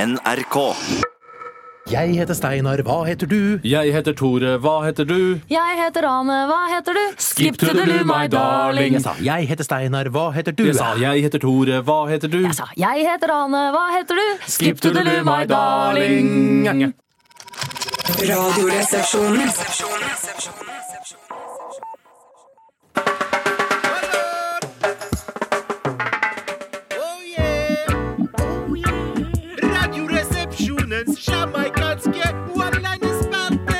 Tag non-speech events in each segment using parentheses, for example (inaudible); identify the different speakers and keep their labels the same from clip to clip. Speaker 1: NRK.
Speaker 2: Jeg heter Steinar, hva heter du?
Speaker 3: Jeg heter Tore, hva heter du?
Speaker 4: Jeg heter Ane, hva heter du?
Speaker 3: Skip to the loo, my darling.
Speaker 2: Jeg sa jeg heter Steinar, hva heter du?
Speaker 3: Jeg sa jeg heter Tore, hva heter du?
Speaker 4: Jeg sa jeg heter Ane, hva heter du?
Speaker 3: Skip to the loo, my darling.
Speaker 5: Radioresepsjonen.
Speaker 6: Radioresepsjonens jamaikanske one-liner-spalte.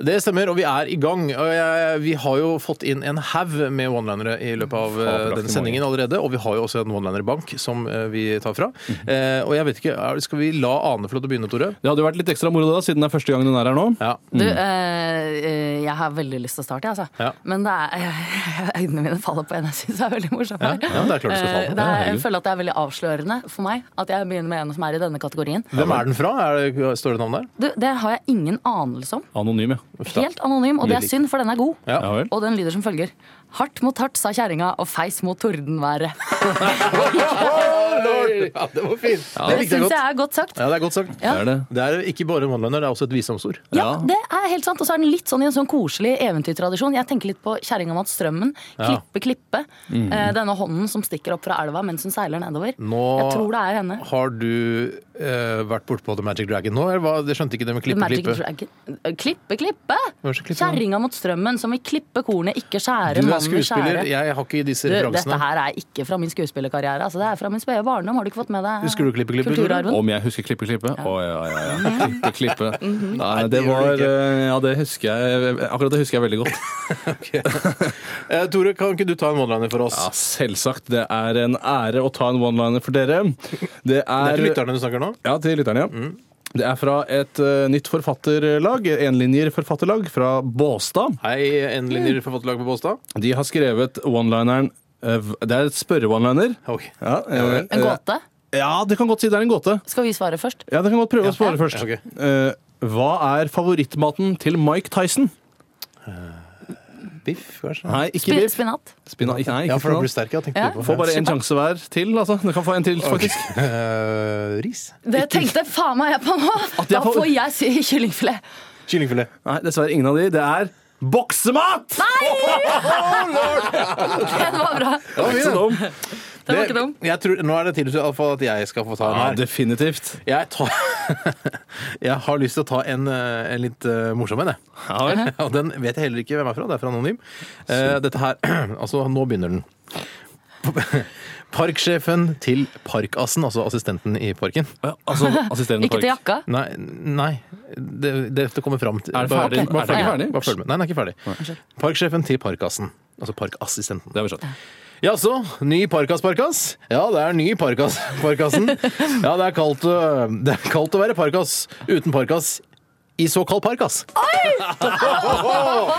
Speaker 7: Det stemmer, og vi er i gang. Og jeg, vi har jo fått inn en haug med one-linere i løpet av eh, den sendingen allerede. Og vi har jo også en one-liner-bank som eh, vi tar fra. Eh, og jeg vet ikke, er, Skal vi la Ane få lov til å begynne, Tore?
Speaker 3: Mhm. Det hadde jo vært litt ekstra moro da, siden det er første gang hun er her nå.
Speaker 7: Ja.
Speaker 4: Du, eh, eh, jeg har veldig lyst til å starte, jeg, altså.
Speaker 7: Mm. Ja.
Speaker 4: Men det er, (laughs) eh, øynene mine faller på en jeg syns er veldig morsom. her.
Speaker 7: ja, det er klart du skal falle på.
Speaker 4: Eh,
Speaker 7: Ja,
Speaker 4: det er, jeg
Speaker 7: herregud.
Speaker 4: føler at det er veldig avslørende for meg at jeg begynner med en som er i denne kategorien.
Speaker 7: Hvem er den fra? Er det, står det navn der?
Speaker 4: Du, det har jeg ingen anelse om.
Speaker 3: Anonym, ja.
Speaker 7: da.
Speaker 4: Helt anonym, og det er synd, for den er god.
Speaker 7: Ja.
Speaker 3: Ja vel.
Speaker 4: Og den lyder som følger. Hardt mot hardt, sa kjerringa, og feis mot tordenværet.
Speaker 7: Ja, det var fint! Det
Speaker 4: Det
Speaker 7: likte jeg
Speaker 4: syns
Speaker 7: godt.
Speaker 4: jeg er godt sagt.
Speaker 7: Ja, det er godt sagt.
Speaker 3: Det er det.
Speaker 7: Det er ikke bare en one-liner, det er også et visdomsord.
Speaker 4: Ja,
Speaker 3: Ja.
Speaker 4: det er helt sant. Og så er den litt sånn i en sånn koselig eventyrtradisjon. Jeg tenker litt på kjerringa Mats Strømmen.
Speaker 7: Ja. Mm.
Speaker 4: Klippe, klippe. Eh, denne hånden som stikker opp fra elva mens hun seiler nedover.
Speaker 7: Nå-
Speaker 4: Jeg tror det er henne.
Speaker 7: Har du eh, vært bortpå The Magic Dragon nå? Eller hva? Det skjønte ikke det med klippe,
Speaker 4: Magic
Speaker 7: klippe.
Speaker 4: Dragon. Eh, Klippe, klippe!
Speaker 7: Hva slags klippe?
Speaker 4: Kjerringa mot strømmen som vil klippe kornet, ikke
Speaker 7: Du
Speaker 4: skjære
Speaker 7: er
Speaker 4: mannen i
Speaker 7: skuespiller,
Speaker 4: skjære.
Speaker 7: jeg har ikke disse
Speaker 4: Du,
Speaker 7: referansene.
Speaker 4: dette her er ikke fra min skuespillerkarriere. Altså, det er fra min spede barndom. Har du ikke fått med deg
Speaker 7: Husker du Klippe, klippe, Tore?
Speaker 4: kulturarven?
Speaker 3: Om jeg husker klippe, klippe? Å ja, ja, ja. Mhm. Klippe, (laughs) klippe. Nei, det
Speaker 7: det gjør
Speaker 3: var
Speaker 7: du
Speaker 3: eh, Ja, det husker jeg Akkurat det husker jeg veldig godt.
Speaker 7: (laughs) Eh, Tore, kan ikke du ta en one-liner for oss?
Speaker 3: Ja, selvsagt. Det er en ære å ta en one-liner for dere. Det
Speaker 7: Det er
Speaker 3: er
Speaker 7: til lytterne du snakker nå?
Speaker 3: Ja, til lytterne, ja. Det er fra et eh, nytt forfatterlag, enlinjerforfatterlag fra Båstad.
Speaker 7: Hei, enlinjer forfatterlag på Båstad.
Speaker 3: De har skrevet one-lineren eh, v- Det er et spørre-one-liner.
Speaker 7: Ok.
Speaker 3: Ja, eh,
Speaker 4: En gåte?
Speaker 3: Ja, det kan godt si det er en gåte.
Speaker 4: Skal vi svare først?
Speaker 3: Ja, det kan godt prøve å svare først.
Speaker 7: ok.
Speaker 3: Eh, hva er favorittmaten til Mike Tyson?
Speaker 7: Biff, kanskje?
Speaker 3: Nei, ikke
Speaker 4: Spin-
Speaker 3: biff.
Speaker 4: Spinat?
Speaker 3: Spinat. Ikke- Nei,
Speaker 7: Ja,
Speaker 3: ikke
Speaker 7: for da blir
Speaker 3: spinat.
Speaker 7: du sterk. Jeg tenkte
Speaker 4: Ja.
Speaker 7: litt på
Speaker 3: Få bare en sjanse hver til, altså. Du kan få en til, faktisk.
Speaker 7: (laughs) Eh, Ris.
Speaker 4: Det tenkte faen meg jeg på nå!
Speaker 3: jeg
Speaker 4: Da
Speaker 3: får-
Speaker 4: får jeg si kyllingfilet.
Speaker 7: Kyllingfilet.
Speaker 3: Nei, dessverre ingen av de. Det er boksemat!
Speaker 4: (laughs) Det var bra.
Speaker 3: Det var ikke så dumt.
Speaker 4: Det var ikke dum.
Speaker 7: jeg tror, nå er det tid til i alle fall at jeg skal få ta en
Speaker 3: Ja,
Speaker 7: her.
Speaker 3: definitivt.
Speaker 7: Jeg, tar, (laughs) jeg har lyst til å ta en, eh, en litt eh, morsom en, jeg.
Speaker 3: Ja, vel.
Speaker 7: (laughs) Og den vet jeg heller ikke hvem er fra. Det er fra Anonym. Eh, dette her (clears throat) Altså, nå begynner den. (laughs) Parksjefen til Parkassen, altså assistenten i parken.
Speaker 3: Ja, Altså, assisterende
Speaker 4: Ikke til
Speaker 3: park.
Speaker 4: jakka.
Speaker 7: Nei, nei det, dette kommer fram til
Speaker 3: Er det
Speaker 7: Bare-
Speaker 3: ferdig?
Speaker 7: Bare, følg
Speaker 3: Er det ikke
Speaker 7: med.
Speaker 3: ferdig?
Speaker 7: Bare følg med. Nei, den er ikke ferdig. Parksjefen til Parkassen. Altså parkassistenten.
Speaker 3: Det har vi skjønt.
Speaker 7: Jaså, ny Parkas Parkas? Ja, det er ny Parkas (laughs) Parkassen. Ja, det er kaldt, øh, det er kaldt å være Parkas uten Parkas i såkalt Parkas.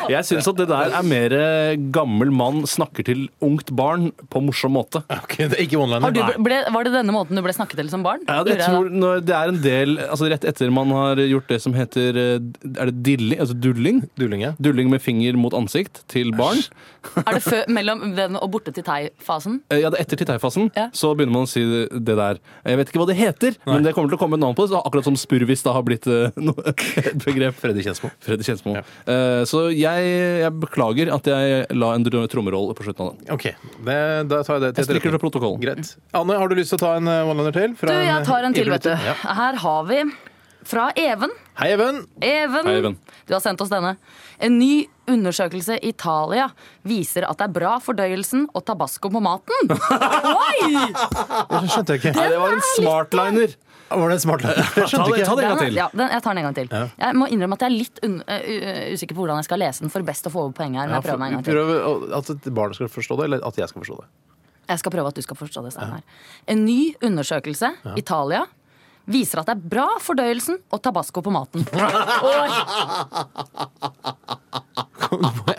Speaker 3: Jeg syns at det der er mer eh, gammel mann snakker til ungt barn på morsom måte.
Speaker 7: Ok, det er ikke one-liner.
Speaker 4: Har du
Speaker 7: Nei.
Speaker 4: ble, var det denne måten du ble snakket til som barn?
Speaker 3: Ja, det, jeg
Speaker 4: Lurer
Speaker 3: tror når det er en del altså Rett etter man har gjort det som heter eh, Er det dilling? Altså dulling?
Speaker 7: Duling, ja.
Speaker 3: Dulling med finger mot ansikt til barn.
Speaker 4: da. Er det før, mellom den og borte til tei-fasen?
Speaker 3: Eh, Ja, det er Etter titeifasen
Speaker 4: Ja.
Speaker 3: så begynner man å si det det der. Jeg vet ikke hva det heter, men det kommer til å komme et navn på det. så Akkurat som spurvis da har blitt eh, (laughs) no- et begrep.
Speaker 7: Freddy Kjensmo.
Speaker 3: Freddy Kjensmo. Eh, Så jeg, jeg beklager at jeg la en dr- trommeroll på slutten av den.
Speaker 7: Ok, det, da tar jeg det til
Speaker 3: Jeg
Speaker 7: etterretning.
Speaker 3: stryker det fra protokollen.
Speaker 7: Greit. Anne, har du lyst til å ta en øh, one-liner til? Fra
Speaker 4: Du, jeg
Speaker 7: en-
Speaker 4: tar en til,
Speaker 7: Even
Speaker 4: vet du.
Speaker 7: Luther? Ja.
Speaker 4: Her har vi fra Even.
Speaker 7: Hei, Even.
Speaker 4: Even.
Speaker 3: Hei, Even.
Speaker 4: Du har sendt oss denne. En ny undersøkelse i Italia viser at det er bra for fordøyelsen å tabasco på
Speaker 3: (laughs)
Speaker 4: maten. Oi! Ah,
Speaker 7: Det skjønte jeg ikke.
Speaker 3: Nei, det var en smartliner.
Speaker 7: Var det en smart liner? Jeg
Speaker 3: Ta
Speaker 7: skjønte
Speaker 3: det, ta
Speaker 7: ikke.
Speaker 3: det en gang
Speaker 4: Den er-
Speaker 3: til.
Speaker 4: Ja, den, jeg tar den en gang til. Jeg må innrømme at jeg er litt un, eh, u- usikker på hvordan jeg skal lese den for best å få over poenget her. Men jeg prøver meg en gang til.
Speaker 7: Prøv å- at et barn skal forstå det, eller at jeg skal forstå det.
Speaker 4: Jeg skal prøve at du skal forstå det. Steinar. En ny undersøkelse, Italia, viser at det er bra for fordøyelsen og tabasco på
Speaker 7: (laughs)
Speaker 4: maten.
Speaker 7: (laughs)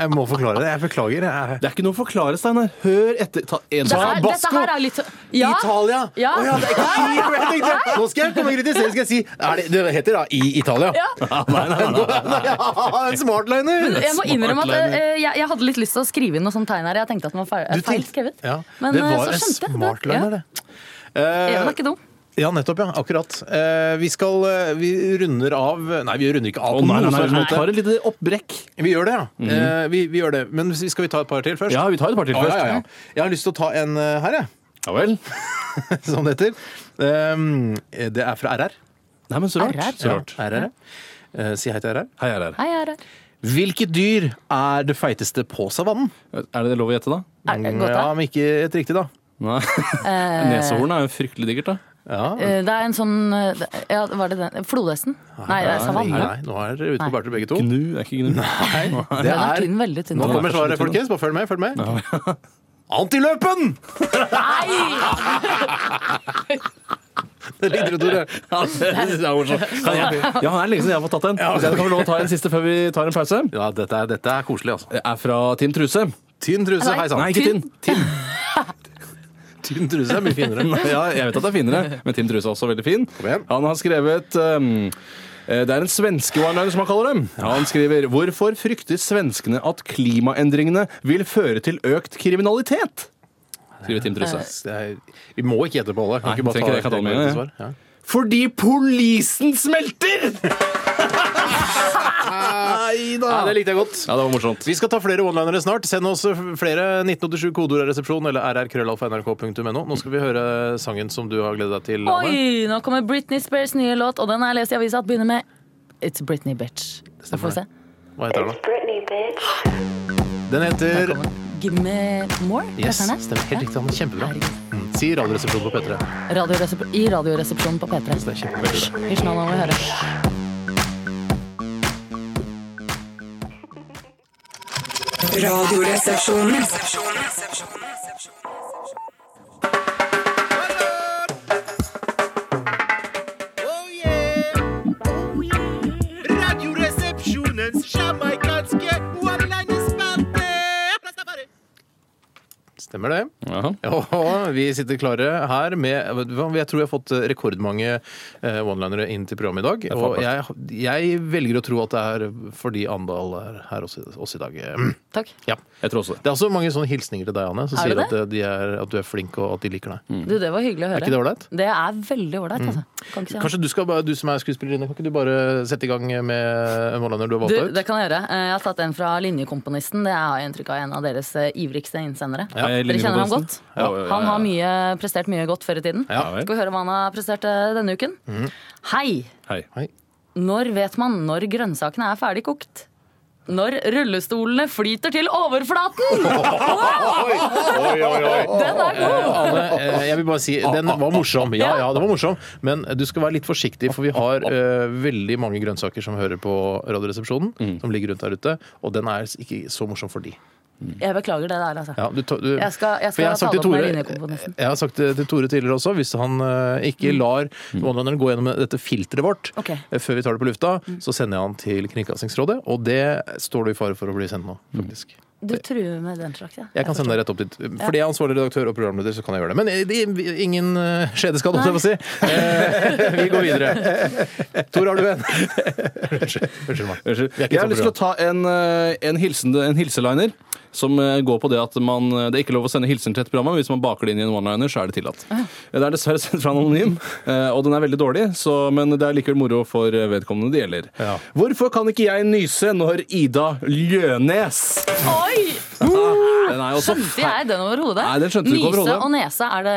Speaker 7: Jeg må forklare det. Jeg beklager. Jeg...
Speaker 3: Det er ikke noe å forklare, Steinar. Hør etter. Ta en
Speaker 4: Dette, her-
Speaker 3: Tabasco.
Speaker 4: dette her er litt så- ja,
Speaker 7: Italia!
Speaker 4: Ja.
Speaker 7: Å ja, det er
Speaker 4: (laughs)
Speaker 7: ikke Kiev, jeg tenkte. Nå skal jeg komme og kritisere. Skal jeg si er det, det heter da i Italia. (laughs) Ja. (laughs) en smartliner!
Speaker 4: Jeg må innrømme at
Speaker 3: Smartliner.
Speaker 4: eh, jeg, jeg hadde litt lyst til å skrive inn noe sånt tegn her. Jeg tenkte at den var feil,
Speaker 7: Du
Speaker 4: feil
Speaker 7: tenkte-
Speaker 4: skrevet.
Speaker 7: Ja.
Speaker 4: Men
Speaker 7: det
Speaker 4: eh,
Speaker 7: var
Speaker 4: så
Speaker 7: en
Speaker 4: skjønte jeg det.
Speaker 7: smartliner, det.
Speaker 4: Ja.
Speaker 7: Eh,
Speaker 4: Even er ikke dum.
Speaker 7: Ja, nettopp. ja, Akkurat. Eh, Vi skal eh, Vi runder av Nei, vi runder ikke av.
Speaker 3: Å
Speaker 7: på
Speaker 3: nei,
Speaker 7: noen
Speaker 3: nei, nei,
Speaker 7: slags
Speaker 3: vi
Speaker 7: måte.
Speaker 3: tar et lite oppbrekk.
Speaker 7: Vi gjør det, ja. Eh, vi, vi gjør det. Men hvis- skal vi ta et par til først?
Speaker 3: Ja, vi tar et par til
Speaker 7: Ja,
Speaker 3: først.
Speaker 7: ja, ja. Jeg har lyst til å ta en eh, her, jeg. (laughs)
Speaker 3: Ja vel.
Speaker 7: Som det heter. Um, Det er fra RR.
Speaker 3: Nei, men så
Speaker 4: RR.
Speaker 3: rart. Så rart.
Speaker 7: RR. Eh, Si hei til RR.
Speaker 3: Hei, RR.
Speaker 4: Hei, her er
Speaker 7: Hvilket dyr er det feiteste på savannen?
Speaker 3: Er det lov å gjette, da?
Speaker 4: er det godt,
Speaker 7: ja,
Speaker 4: da?
Speaker 7: men ikke et riktig, da.
Speaker 3: Nei. (laughs) Neshorn er jo fryktelig diggert, da.
Speaker 7: Ja.
Speaker 4: Eh, Det er en sånn eh, Ja, var det den? Flodhesten? Nei, det er savanne.
Speaker 7: Nei, nå er dere ute på
Speaker 4: Nei.
Speaker 7: bærtur begge to.
Speaker 3: Gnu er ikke gnu. Nei.
Speaker 7: Det
Speaker 4: Den er
Speaker 7: er
Speaker 4: tynn, veldig tynn.
Speaker 7: Nå
Speaker 3: Den er
Speaker 7: kommer svaret,
Speaker 3: kanskje litt
Speaker 7: folkens. Bare følg med. følg med (laughs) Antiløpen!
Speaker 4: Nei!
Speaker 7: Det ligger ute, Tore.
Speaker 3: Ja, det synes jeg er morsomt. Kan jeg- Ja, det er lenge siden jeg har fått tatt en. Så jeg kan få lov å ta en siste før vi tar en pause.
Speaker 7: Ja, dette er, dette er koselig, altså.
Speaker 3: Det er fra Team Truse.
Speaker 7: Tynn truse.
Speaker 4: Nei.
Speaker 7: Hei sann.
Speaker 3: Nei, ikke Tinn.
Speaker 7: Tynn truse er mye (laughs) finere.
Speaker 3: Ja, jeg vet at det er finere, men Tim Truse er også veldig fin.
Speaker 7: igjen.
Speaker 3: Han har skrevet um, eh, det er en svenske one-liner som han kaller dem. Han skriver Hvorfor frykter svenskene at klimaendringene vil føre til økt kriminalitet? Skriver Tim Truse.
Speaker 7: Det er, vi må ikke gjette på alle. Kan
Speaker 3: Nei,
Speaker 7: ikke bare
Speaker 3: trenger
Speaker 7: ta
Speaker 3: jeg ikke ta
Speaker 7: det
Speaker 3: med,
Speaker 7: korrekte svar? Ja.
Speaker 3: Fordi polisen smelter! Nei da.
Speaker 7: Ja, det likte jeg godt.
Speaker 3: Ja, det var morsomt.
Speaker 7: Vi skal ta flere onelinere snart. Send oss flere 1987 kodeord er resepsjon eller rrkrøllalfa.nrk.no. Nå skal vi høre sangen som du har gledet deg til.
Speaker 4: Oi,
Speaker 7: Anne.
Speaker 4: nå kommer Britney Spears nye låt, og den har jeg lest i avisa at begynner med It's Britney, bitch. Så får vi se.
Speaker 7: Hva heter den? da?
Speaker 1: Britney, bitch.
Speaker 7: Den heter
Speaker 4: Give me more?
Speaker 7: Yes,
Speaker 4: heter den det?
Speaker 7: stemmer helt riktig. Anne. Kjempebra.
Speaker 4: Herregud.
Speaker 7: Mm, Si Radioresepsjonen på P3.
Speaker 4: Radioresep I Radioresepsjonen på P3.
Speaker 7: Det er kjempebra.
Speaker 4: Hysj, nå må vi høre.
Speaker 5: Radioresepsjonen.
Speaker 6: Oh yeah! Radioresepsjonens jamaikanske one-line-spalte.
Speaker 7: Stemmer det.
Speaker 3: Jaha.
Speaker 7: Og vi sitter klare her med vet du hva, Jeg tror vi har fått rekordmange eh, one-linere inn til programmet i dag. Og jeg, jeg velger å tro at det er fordi Andal er her også, også i dag.
Speaker 4: Takk.
Speaker 7: Ja.
Speaker 3: Jeg tror også det.
Speaker 7: Det er også mange sånne hilsninger til deg, Anne, som
Speaker 4: Er det
Speaker 7: sier at, eh, de er, at du er flink og at de liker deg.
Speaker 4: Du, det var hyggelig å høre.
Speaker 7: Mm. Er ikke det ålreit? Mm.
Speaker 4: Det er veldig ålreit, altså. Kan ikke si annet.
Speaker 7: Kanskje du, skal, bare- du som er skuespillerinne, kan ikke du bare sette i gang med en mållander du har valgt
Speaker 4: Du,
Speaker 7: ut?
Speaker 4: det kan jeg gjøre. Eh, Jeg har tatt en fra Linjekomponisten. Det har jeg inntrykk av en av deres eh, ivrigste innsendere.
Speaker 3: Hei,
Speaker 4: Dere kjenner ham
Speaker 3: Linjekomponisten.
Speaker 4: godt?
Speaker 3: Ja, ja, ja, ja.
Speaker 4: Han har mye, prestert mye godt før i tiden.
Speaker 3: Ja, vel.
Speaker 4: Skal vi høre hva han har prestert eh, denne uken?
Speaker 7: Mm.
Speaker 4: Hei!
Speaker 3: Hei.
Speaker 7: Hei.
Speaker 4: Når vet man når grønnsakene er ferdig kokt? Når rullestolene flyter til overflaten! Den er god!
Speaker 7: Anne, eh, jeg vil bare si, den var morsom. Ja, ja, den var morsom. Men du skal være litt forsiktig, for vi har eh, veldig mange grønnsaker som hører på Radioresepsjonen, som ligger rundt der ute, og den er ikke så morsom for de.
Speaker 4: Jeg beklager det der, altså.
Speaker 7: Ja, du, ta- du,
Speaker 4: Jeg skal- jeg
Speaker 7: for har
Speaker 4: skal ta
Speaker 7: sagt til
Speaker 4: det opp med
Speaker 7: Tore-
Speaker 4: linjekomponisten.
Speaker 7: Jeg har sagt det til Tore tidligere også, hvis han eh, ikke lar one-lineren gå gjennom dette filteret vårt
Speaker 4: Mm. Ok. Mm.
Speaker 7: eh, før vi tar det på lufta, så sender jeg han til Kringkastingsrådet, og det står du i fare for å bli sendt nå, faktisk.
Speaker 4: Du truer med den slags, ja.
Speaker 7: Jeg kan sende deg rett opp dit. Fordi jeg er ansvarlig redaktør og programleder, så kan jeg gjøre det. Men eh, det- ingen eh, skjedeskade, holdt jeg på å si. Eh, Vi går videre. Tor, har du en? Unnskyld unnskyld meg.
Speaker 3: (laughs) Unnskyld.
Speaker 7: Vi er ikke
Speaker 3: Jeg har
Speaker 7: et
Speaker 3: lyst til å ta en, eh, en, hilsen, en hilseliner som eh, går på det at man, eh, det er ikke lov å sende hilsen til et program, men hvis man baker det inn i en one-liner, så er det tillatt.
Speaker 4: Ah.
Speaker 3: Det er dessverre (laughs) sendt fra en anonym, eh, og den er veldig dårlig, så, men det er likevel moro for eh, vedkommende det gjelder.
Speaker 7: Ja.
Speaker 3: Hvorfor kan ikke jeg nyse når Ida Ljønes
Speaker 4: Oi!
Speaker 3: Den er jo også
Speaker 4: Skjønte jeg den overhodet?
Speaker 3: Nei, den skjønte du ikke overhodet.
Speaker 4: Nyse og nese, er det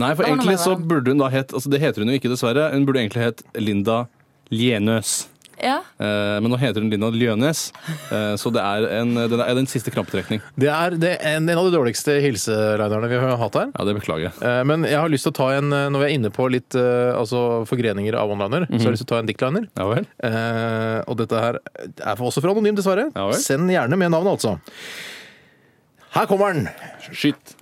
Speaker 3: Nei, for
Speaker 4: Det var noe
Speaker 3: egentlig
Speaker 4: med
Speaker 3: så
Speaker 4: hverandre.
Speaker 3: burde hun da het altså Det heter hun jo ikke, dessverre. Hun burde egentlig het Linda Ljenøs.
Speaker 4: ja.
Speaker 3: Eh, Men nå heter hun Linda Ljønes, eh, så det er en, den er en siste krampetrekning.
Speaker 7: Det er det, en, en av de dårligste hilselinerne vi har hatt her.
Speaker 3: Ja, det beklager jeg.
Speaker 7: Eh, Men jeg har lyst til å ta en, eh, når vi er inne på litt eh, altså forgreninger av onliner, så
Speaker 3: Mhm.
Speaker 7: har jeg lyst til å ta en dictliner.
Speaker 3: Ja vel?
Speaker 7: Eh, og dette her er også fra anonym, dessverre.
Speaker 3: Ja vel.
Speaker 7: Send gjerne med navnet, altså. Her kommer den.
Speaker 3: Skyt.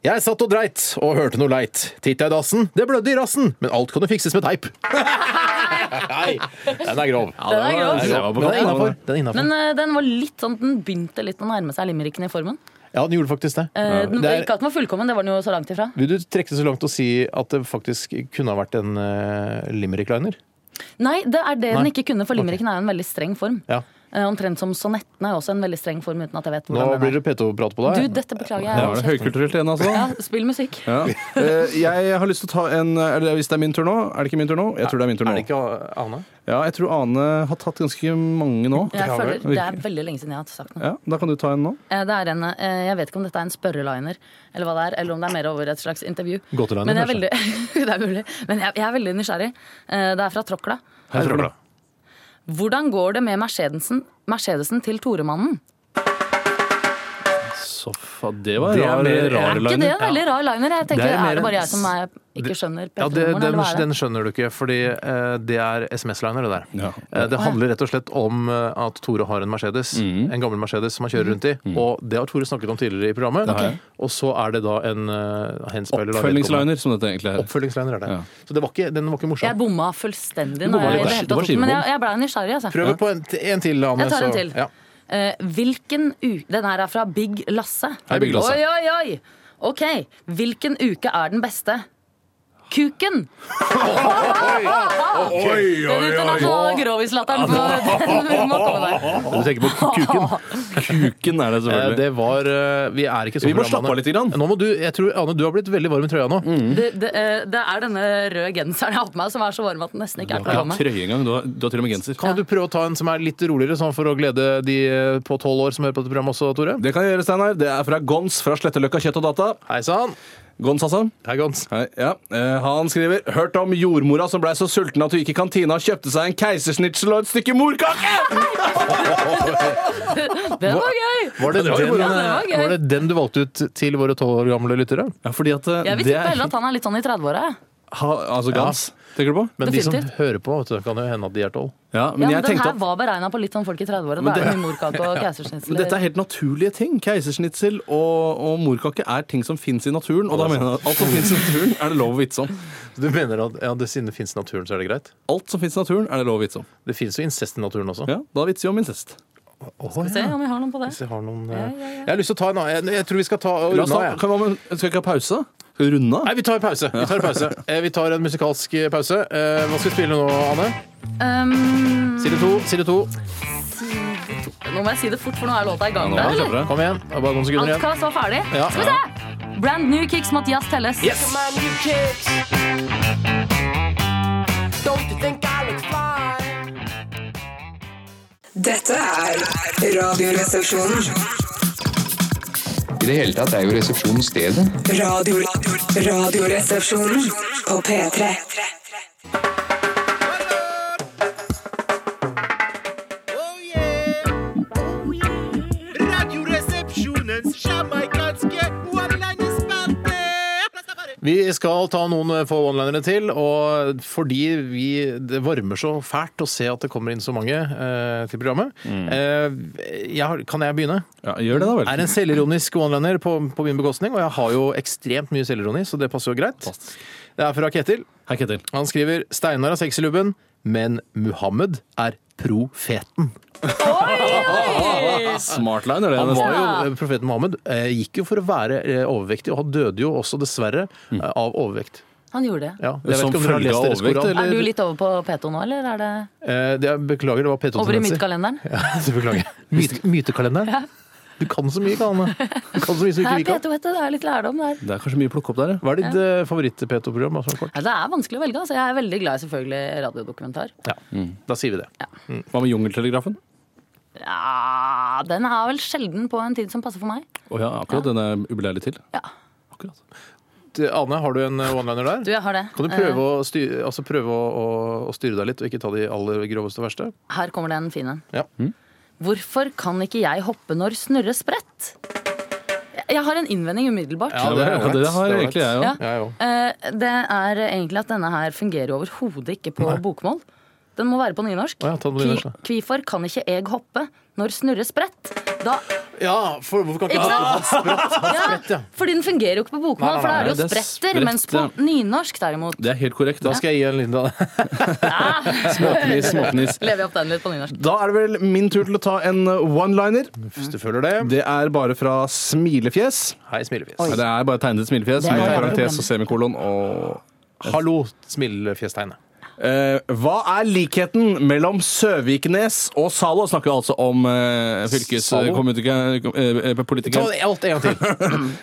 Speaker 7: Jeg satt og dreit og hørte noe leit. Titta i dassen, det blødde i rassen, men alt kunne fikses med
Speaker 3: (laughs)
Speaker 7: teip. Nei, den er grov.
Speaker 4: Den er grov.
Speaker 3: det var på
Speaker 7: Men den er
Speaker 3: kanten.
Speaker 7: innafor. Den, er innenfor.
Speaker 4: Men eh, den var litt sånn Den begynte litt å nærme seg limericken i formen.
Speaker 7: ja, den gjorde faktisk det.
Speaker 4: Eh, den,
Speaker 7: Det er-
Speaker 4: Ikke at den var fullkommen, det var den jo så langt ifra.
Speaker 7: Vil du trekke det så langt og si at det faktisk kunne ha vært en uh, limerick-liner?
Speaker 4: Nei, det er det
Speaker 7: Nei.
Speaker 4: den ikke kunne, for limericken er jo en veldig streng form.
Speaker 7: Ja.
Speaker 4: Eh, Omtrent som sonettene er også en veldig streng form uten at jeg vet
Speaker 7: Nå
Speaker 4: hvordan
Speaker 7: blir
Speaker 4: den er.
Speaker 7: det P2-prat på
Speaker 4: Du,
Speaker 7: deg.
Speaker 4: dette beklager jeg.
Speaker 3: Ja, er det
Speaker 4: Kjeft.
Speaker 3: høykulturelt igjen, altså?
Speaker 4: Ja, spill musikk.
Speaker 3: Ja. Eh, Jeg har lyst til å ta en eller Hvis det er min tur nå? Er det ikke min tur nå? Jeg tror det er min tur nå.
Speaker 7: Er det ikke Ane?
Speaker 3: Ja, jeg tror Ane har tatt ganske mange nå.
Speaker 4: Jeg
Speaker 7: Ja, vel.
Speaker 4: føler, det er veldig lenge siden jeg har sagt noe.
Speaker 3: Ja, Da kan du ta en nå.
Speaker 4: Eh, Det er en, eh, jeg vet ikke om dette er en spørreliner, eller hva det er, eller om det er mer over et slags intervju.
Speaker 7: Gåteliner,
Speaker 4: Men jeg er veldig, (laughs) det er mulig. Men jeg, jeg er veldig nysgjerrig. Eh, Det er fra Tråkla.
Speaker 7: Jeg tror det.
Speaker 4: Hvordan går det med Mercedesen, Mercedesen til Toremannen?
Speaker 3: Så fa, det var
Speaker 7: Det er
Speaker 3: rar,
Speaker 7: mer-
Speaker 3: rar
Speaker 4: Er ikke det
Speaker 3: liner.
Speaker 4: en veldig rar liner? Jeg tenker,
Speaker 7: Det er
Speaker 4: er,
Speaker 7: mer
Speaker 4: det bare
Speaker 7: en-
Speaker 4: jeg som er, ikke skjønner
Speaker 7: Ja, det,
Speaker 4: P3-humoren,
Speaker 7: den,
Speaker 4: eller hva er
Speaker 7: den
Speaker 4: det?
Speaker 7: skjønner du ikke, fordi eh, det er SMS-liner, det der.
Speaker 3: Ja.
Speaker 7: Eh, det handler rett og slett om eh, at Tore har en Mercedes,
Speaker 3: Mm.
Speaker 7: en gammel Mercedes som han kjører rundt i. Og det har Tore snakket om tidligere i programmet.
Speaker 3: har jeg.
Speaker 7: Og så er det da en uh, henspeiler av vedkommende.
Speaker 3: Oppfølgingsliner, som dette egentlig er.
Speaker 7: Oppfølgingsliner er det.
Speaker 3: Ja.
Speaker 7: Så det var ikke, den var ikke
Speaker 4: Jeg
Speaker 7: morsom.
Speaker 4: bomma fullstendig.
Speaker 3: bomma
Speaker 4: Når jeg, i
Speaker 3: litt
Speaker 4: det
Speaker 3: der.
Speaker 4: hele
Speaker 3: Du var
Speaker 4: tatt tok- men
Speaker 3: skivebom.
Speaker 4: jeg, jeg ble nysgjerrig, altså.
Speaker 7: Prøv på en, en til, Anne.
Speaker 4: Jeg tar en
Speaker 7: så-
Speaker 4: til.
Speaker 7: Ja.
Speaker 4: Eh, hvilken u Den her er fra Big Lasse.
Speaker 3: Hei, Big Lasse.
Speaker 4: Oi, oi, oi! Ok. Hvilken uke er den beste? Kuken!
Speaker 3: Oi,
Speaker 4: Den internasjonale grovislatteren. på- (laughs) Den må komme
Speaker 3: Du
Speaker 4: der.
Speaker 3: tenker på kuken. Kuken er
Speaker 7: Eh,
Speaker 3: det selvfølgelig.
Speaker 7: Det var eh, Vi er ikke så
Speaker 3: Vi må
Speaker 7: programmet,
Speaker 3: slappe av
Speaker 7: Anne.
Speaker 3: litt Mm. grann.
Speaker 7: Nå må du, jeg tror, Anne, du har blitt veldig varm i trøya nå.
Speaker 4: Det, det, eh, det er denne røde genseren jeg har på meg, som er så varm at den nesten ikke er
Speaker 3: Du
Speaker 4: til å
Speaker 3: har
Speaker 4: ta av
Speaker 3: ikke
Speaker 4: meg.
Speaker 3: trøye engang. Du, har- du har til og med genser.
Speaker 7: Kan du prøve å ta en som er litt roligere, sånn for å glede de eh, på tolv år som hører på dette programmet også, Tore?
Speaker 3: Det kan jeg gjøre, Steinar. Det er fra Gons fra Sletteløkka kjøtt og data.
Speaker 7: Hei sann!
Speaker 3: Gons, altså.
Speaker 7: Hei, Gons.
Speaker 3: Hei, ja. Eh, Han skriver Hørt om jordmora som blei så sulten at hun gikk i kantina og kjøpte seg en keisersnitsel og et stykke morkake!
Speaker 4: Det var gøy!
Speaker 7: Var det,
Speaker 3: Ja, det
Speaker 7: den,
Speaker 3: var eh,
Speaker 4: bra. Ja, det var gøy.
Speaker 7: var det den du valgte ut til våre tolv år gamle lyttere?
Speaker 3: Ja, fordi at eh,
Speaker 4: Jeg vil
Speaker 3: det
Speaker 4: tippe heller at han er litt sånn i 30-åra. jeg.
Speaker 3: ha, Altså Gans, tenker du på?
Speaker 7: Men de som
Speaker 4: Definitivt.
Speaker 7: hører på, vet du, kan jo hende at de er tolv.
Speaker 3: Ja,
Speaker 4: Ja,
Speaker 3: men
Speaker 4: men
Speaker 3: jeg
Speaker 4: den
Speaker 3: tenkte
Speaker 4: her
Speaker 3: at
Speaker 4: var beregna på litt sånn folk i 30-åra. Da er det mye morkake
Speaker 3: (laughs)
Speaker 4: og
Speaker 3: men
Speaker 4: keisersnitsel.
Speaker 3: dette er helt naturlige ting. Keisersnitsel og, og morkake er ting som fins i naturen. Og da mener jeg at alt som fins i naturen, er det lov å vitse om.
Speaker 7: Du mener at ja, det, siden det fins i naturen, så er det greit?
Speaker 3: Alt som fins i naturen, er det lov å vitse om.
Speaker 7: Det fins jo incest i naturen også.
Speaker 3: Ja, Da vitser vi om incest.
Speaker 7: Åh,
Speaker 4: Se om vi har noen på det.
Speaker 7: Hvis jeg, har noen, eh, jeg har lyst til å ta en annen. Jeg, jeg tror vi skal ta og
Speaker 3: La oss
Speaker 7: runde
Speaker 3: ta,
Speaker 7: av. jeg.
Speaker 3: kan man, skal vi ikke ha pause? Skal vi runde av?
Speaker 7: Nei, vi tar pause. Vi tar, pause. Eh, vi tar en musikalsk eh, pause. Eh, Hva skal vi spille nå, Anne?
Speaker 4: Um,
Speaker 7: Side to, side to.
Speaker 4: nå må jeg si det fort, for nå er låta i gang.
Speaker 3: Nå er det
Speaker 4: der, eller?
Speaker 3: kjappere.
Speaker 7: Kom igjen. Det er bare noen sekunder igjen.
Speaker 4: Outcast var ferdig.
Speaker 7: Ja.
Speaker 4: Skal vi se! Brand new kicks, Mathias Telles.
Speaker 7: Yes!
Speaker 1: Dette er Radioresepsjonen.
Speaker 5: I det hele tatt er jo resepsjonen stedet.
Speaker 1: Radio, radioresepsjonen på P3.
Speaker 6: Oh yeah. Radioresepsjonens jamaikanske one-liners-spalte.
Speaker 7: Vi skal ta noen eh, få onelinere til, og fordi vi, det varmer så fælt å se at det kommer inn så mange eh, til programmet eh, jeg, har- Kan jeg begynne?
Speaker 3: Ja, gjør det, da
Speaker 7: Er
Speaker 3: vel.
Speaker 7: en selvironisk oneliner på, på min bekostning, og jeg har jo ekstremt mye selvironi, så det passer jo greit. Det er fra Ketil.
Speaker 3: Hei, Ketil.
Speaker 7: Han skriver 'Steinar har sex i lubben, men Muhammed er profeten'.
Speaker 3: Smartliner, det.
Speaker 7: Han
Speaker 3: nesten.
Speaker 7: var jo, Profeten Mohammed eh, gikk jo for å være eh, overvektig, og han døde jo også dessverre eh, av overvekt.
Speaker 4: Han gjorde det.
Speaker 7: Ja, jeg vet
Speaker 3: Som
Speaker 7: ikke om dere har
Speaker 3: følge av
Speaker 7: lest deres
Speaker 3: overvekt,
Speaker 7: koran.
Speaker 3: eller?
Speaker 4: Er du litt over på P2 nå, eller er det
Speaker 7: Eh, det, jeg beklager, det var P2
Speaker 4: over i
Speaker 7: Tendenser.
Speaker 4: mytekalenderen?
Speaker 7: (laughs) Ja, det beklager jeg. Myte, mytekalenderen. Du kan så mye, Anne. Du kan så mye som ikke
Speaker 4: Nei,
Speaker 7: vi kan.
Speaker 4: P2, vet du, det er litt lærdom der.
Speaker 3: Det er kanskje mye å plukke opp der, ja.
Speaker 7: Hva er ditt eh, favoritt-P2-program? Altså, kort?
Speaker 4: Nei, det er vanskelig å velge. Altså. Jeg er veldig glad i selvfølgelig radiodokumentar.
Speaker 7: Ja, Da sier vi det.
Speaker 3: Hva med Jungeltelegrafen?
Speaker 4: Ja, den er vel sjelden på en tid som passer for meg.
Speaker 3: Å ja, akkurat. Den er ubeleilig til.
Speaker 4: Ja.
Speaker 3: Akkurat.
Speaker 7: Du, Anne, har du en eh, one-liner
Speaker 4: Du, eh.
Speaker 7: der?
Speaker 4: jeg har det.
Speaker 7: Kan du prøve, å styre, altså prøve å, å, å styre deg litt, og ikke ta de aller groveste og verste?
Speaker 4: Eh, Her kommer det en fin en.
Speaker 7: Ja.
Speaker 4: Hvorfor kan ikke jeg hoppe når Snurre spredt? Jeg- Jeg har en innvending umiddelbart.
Speaker 7: Ja, det er
Speaker 3: Ja,
Speaker 7: ålreit.
Speaker 3: det har
Speaker 7: Det er
Speaker 3: egentlig jeg òg.
Speaker 4: Ja.
Speaker 7: Jeg òg.
Speaker 4: Eh, Det er egentlig at denne her fungerer overhodet ikke på bokmål. Den må være på nynorsk.
Speaker 7: Å ja, ta den på nynorsk, da.
Speaker 4: Kvi- Kvifor kan ikke eg hoppe når Snurre spredt? Da,
Speaker 7: Ja, for hvorfor kan
Speaker 4: ikke
Speaker 7: ikke
Speaker 4: sant?
Speaker 7: Spredt, ja.
Speaker 4: Fordi den fungerer jo ikke på bokmål,
Speaker 7: Nei, nei,
Speaker 4: for da er
Speaker 3: nei,
Speaker 4: det jo
Speaker 3: det er
Speaker 4: spretter. Mens på
Speaker 3: sprett,
Speaker 4: nynorsk
Speaker 7: (laughs)
Speaker 4: derimot
Speaker 3: Det er helt korrekt.
Speaker 7: Da skal jeg gi en liten
Speaker 3: Småknis, småknis.
Speaker 4: lever jeg opp den litt på nynorsk.
Speaker 3: (laughs) Da er det vel min tur til å ta en uh, one-liner.
Speaker 7: (laughs) Hvis du føler det.
Speaker 3: Det er bare fra smilefjes.
Speaker 7: Hei, smilefjes.
Speaker 3: Nei, Det er bare tegnet smilefjes
Speaker 4: Det er
Speaker 3: med
Speaker 4: bare
Speaker 3: parentes
Speaker 4: problemet.
Speaker 3: og semikolon og
Speaker 7: Hallo, smilefjestegnet.
Speaker 3: Eh, hva er likheten mellom Søviknes og Zalo? Snakker altså om eh,
Speaker 7: Zalo? Ta
Speaker 3: fylkespolitikeren.
Speaker 7: alt en gang til.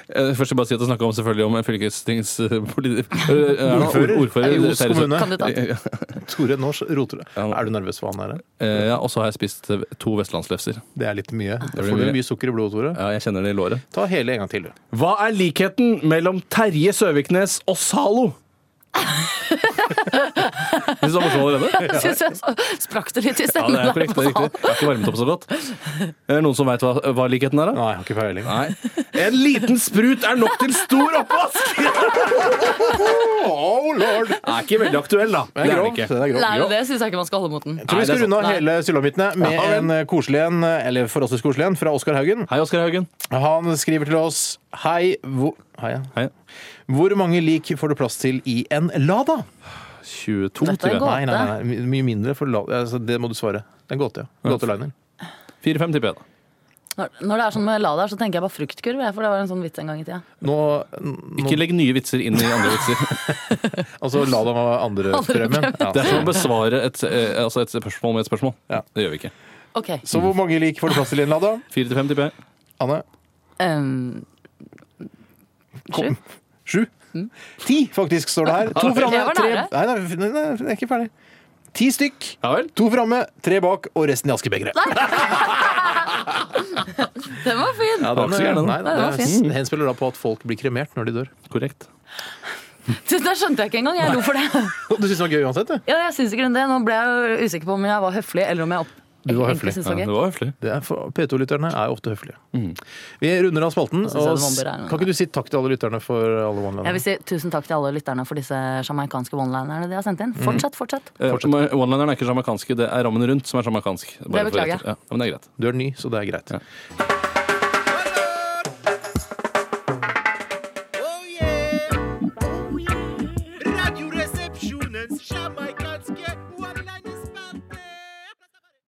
Speaker 3: Eh, Først vil jeg bare si at det snakker om selvfølgelig om eh, (laughs) fylkestingspolitiker
Speaker 7: Ordfører? I Os kommune.
Speaker 4: Kandidat.
Speaker 7: (laughs)
Speaker 3: Eh,
Speaker 7: Tore, nå roter du.
Speaker 3: Ja.
Speaker 7: Er du nervøs for han her?
Speaker 3: Ja, og så har jeg spist eh, to vestlandslefser.
Speaker 7: Det er litt mye. Da
Speaker 3: blir
Speaker 7: får du
Speaker 3: mye.
Speaker 7: mye sukker i blodet, Tore.
Speaker 3: Ja, jeg kjenner det i låret.
Speaker 7: Ta hele en gang til, du.
Speaker 3: Hva er likheten mellom Terje Søviknes og (laughs) Zalo? Syns du det var morsomt allerede?
Speaker 4: Jeg synes jeg så- sprakk det litt i
Speaker 3: Ja, det er korrekt. det er riktig.
Speaker 4: stemmen.
Speaker 3: Jeg har ikke varmet opp så godt. Er det noen som veit hva, hva likheten er, da?
Speaker 7: Nei, jeg har ikke peiling.
Speaker 3: Nei. En liten sprut er nok til stor (laughs) oppvask!
Speaker 7: Oh, lord!
Speaker 3: Er ikke veldig aktuell, da.
Speaker 7: Den er grov.
Speaker 3: det
Speaker 7: Den er grov.
Speaker 4: Nei, det syns jeg ikke man skal holde mot den.
Speaker 7: Jeg tror vi
Speaker 3: Nei,
Speaker 7: skal
Speaker 3: det er
Speaker 7: runde av
Speaker 4: sant.
Speaker 7: hele Sylamitten med
Speaker 3: Ja, vel.
Speaker 7: en eh, koselig en, eller forholdsvis koselig en, fra Oskar Haugen.
Speaker 3: Hei, Oskar Haugen.
Speaker 7: Han skriver til oss Hei, hvor, hei ja.
Speaker 3: Hei.
Speaker 7: hvor mange lik får du plass til i en Lada?
Speaker 3: 22,
Speaker 4: Dette er
Speaker 3: tror jeg.
Speaker 4: godt.
Speaker 7: Nei, nei, nei, my- mye mindre. For la, altså, det må du svare. Det er en gåte, ja. Gåteliner.
Speaker 3: 4-5 tipper jeg. da.
Speaker 4: Når, når det er sånn med Lada, så tenker jeg bare fruktkurv, jeg, for det var en sånn vits en gang i tida.
Speaker 7: Nå,
Speaker 3: Ikke legg nye vitser inn i andre vitser.
Speaker 7: altså, Lada var andre premien.
Speaker 3: Det er
Speaker 7: Ja.
Speaker 3: som å besvare et, eh, altså et spørsmål med et spørsmål.
Speaker 7: Ja.
Speaker 3: Det gjør vi ikke.
Speaker 4: Ok.
Speaker 7: Så hvor mange lik får du plass til i en Lada?
Speaker 3: 4-5 tipper jeg.
Speaker 7: Anne?
Speaker 4: Um,
Speaker 7: Kom. Sju?
Speaker 4: Mm.
Speaker 7: Ti, faktisk, står det her. To framme,
Speaker 4: Det var
Speaker 7: tre
Speaker 4: nære.
Speaker 7: Nei, nei, nei, nei, jeg er ikke ferdig. Ti stykk.
Speaker 3: Ja vel?
Speaker 7: To framme, tre bak, og resten i askebegeret.
Speaker 4: den var fin!
Speaker 3: Ja, det var ikke så gærent.
Speaker 7: Nei, nei,
Speaker 3: den.
Speaker 4: Det var
Speaker 7: det
Speaker 4: fint.
Speaker 7: henspiller da på at folk blir kremert når de dør. (laughs)
Speaker 3: Korrekt.
Speaker 4: Det der skjønte jeg ikke engang. Jeg lo for det.
Speaker 7: Du syns det var gøy uansett, du?
Speaker 4: (laughs) Ja, jeg syns ikke det. Nå ble jeg jo usikker på om jeg var høflig, eller om jeg opp...
Speaker 7: Du var
Speaker 4: egentlig
Speaker 7: høflig.
Speaker 4: syntes
Speaker 3: Ja,
Speaker 4: det
Speaker 3: det
Speaker 4: var gøy.
Speaker 3: var høflig.
Speaker 7: Det er for- P2-lytterne er jo ofte høflige. Vi runder av spalten.
Speaker 4: Mm. synes jeg
Speaker 7: Og
Speaker 4: det må
Speaker 7: s-
Speaker 4: være noe.
Speaker 7: kan ikke du si takk til alle lytterne for alle
Speaker 4: Jeg
Speaker 7: one-linerne?
Speaker 4: vil si tusen takk til alle lytterne for disse jamaicanske one-linerne de har sendt inn. Fortsatt, fortsatt.
Speaker 3: Eh, men One-lineren er ikke jamaicansk, det er rammen rundt som er jamaicansk. Bare for
Speaker 4: beklager
Speaker 3: retter. Ja, men det er greit.
Speaker 7: Du er ny, så det er greit.
Speaker 3: Ja.
Speaker 6: Oh yeah! Radioresepsjonens jamaikanske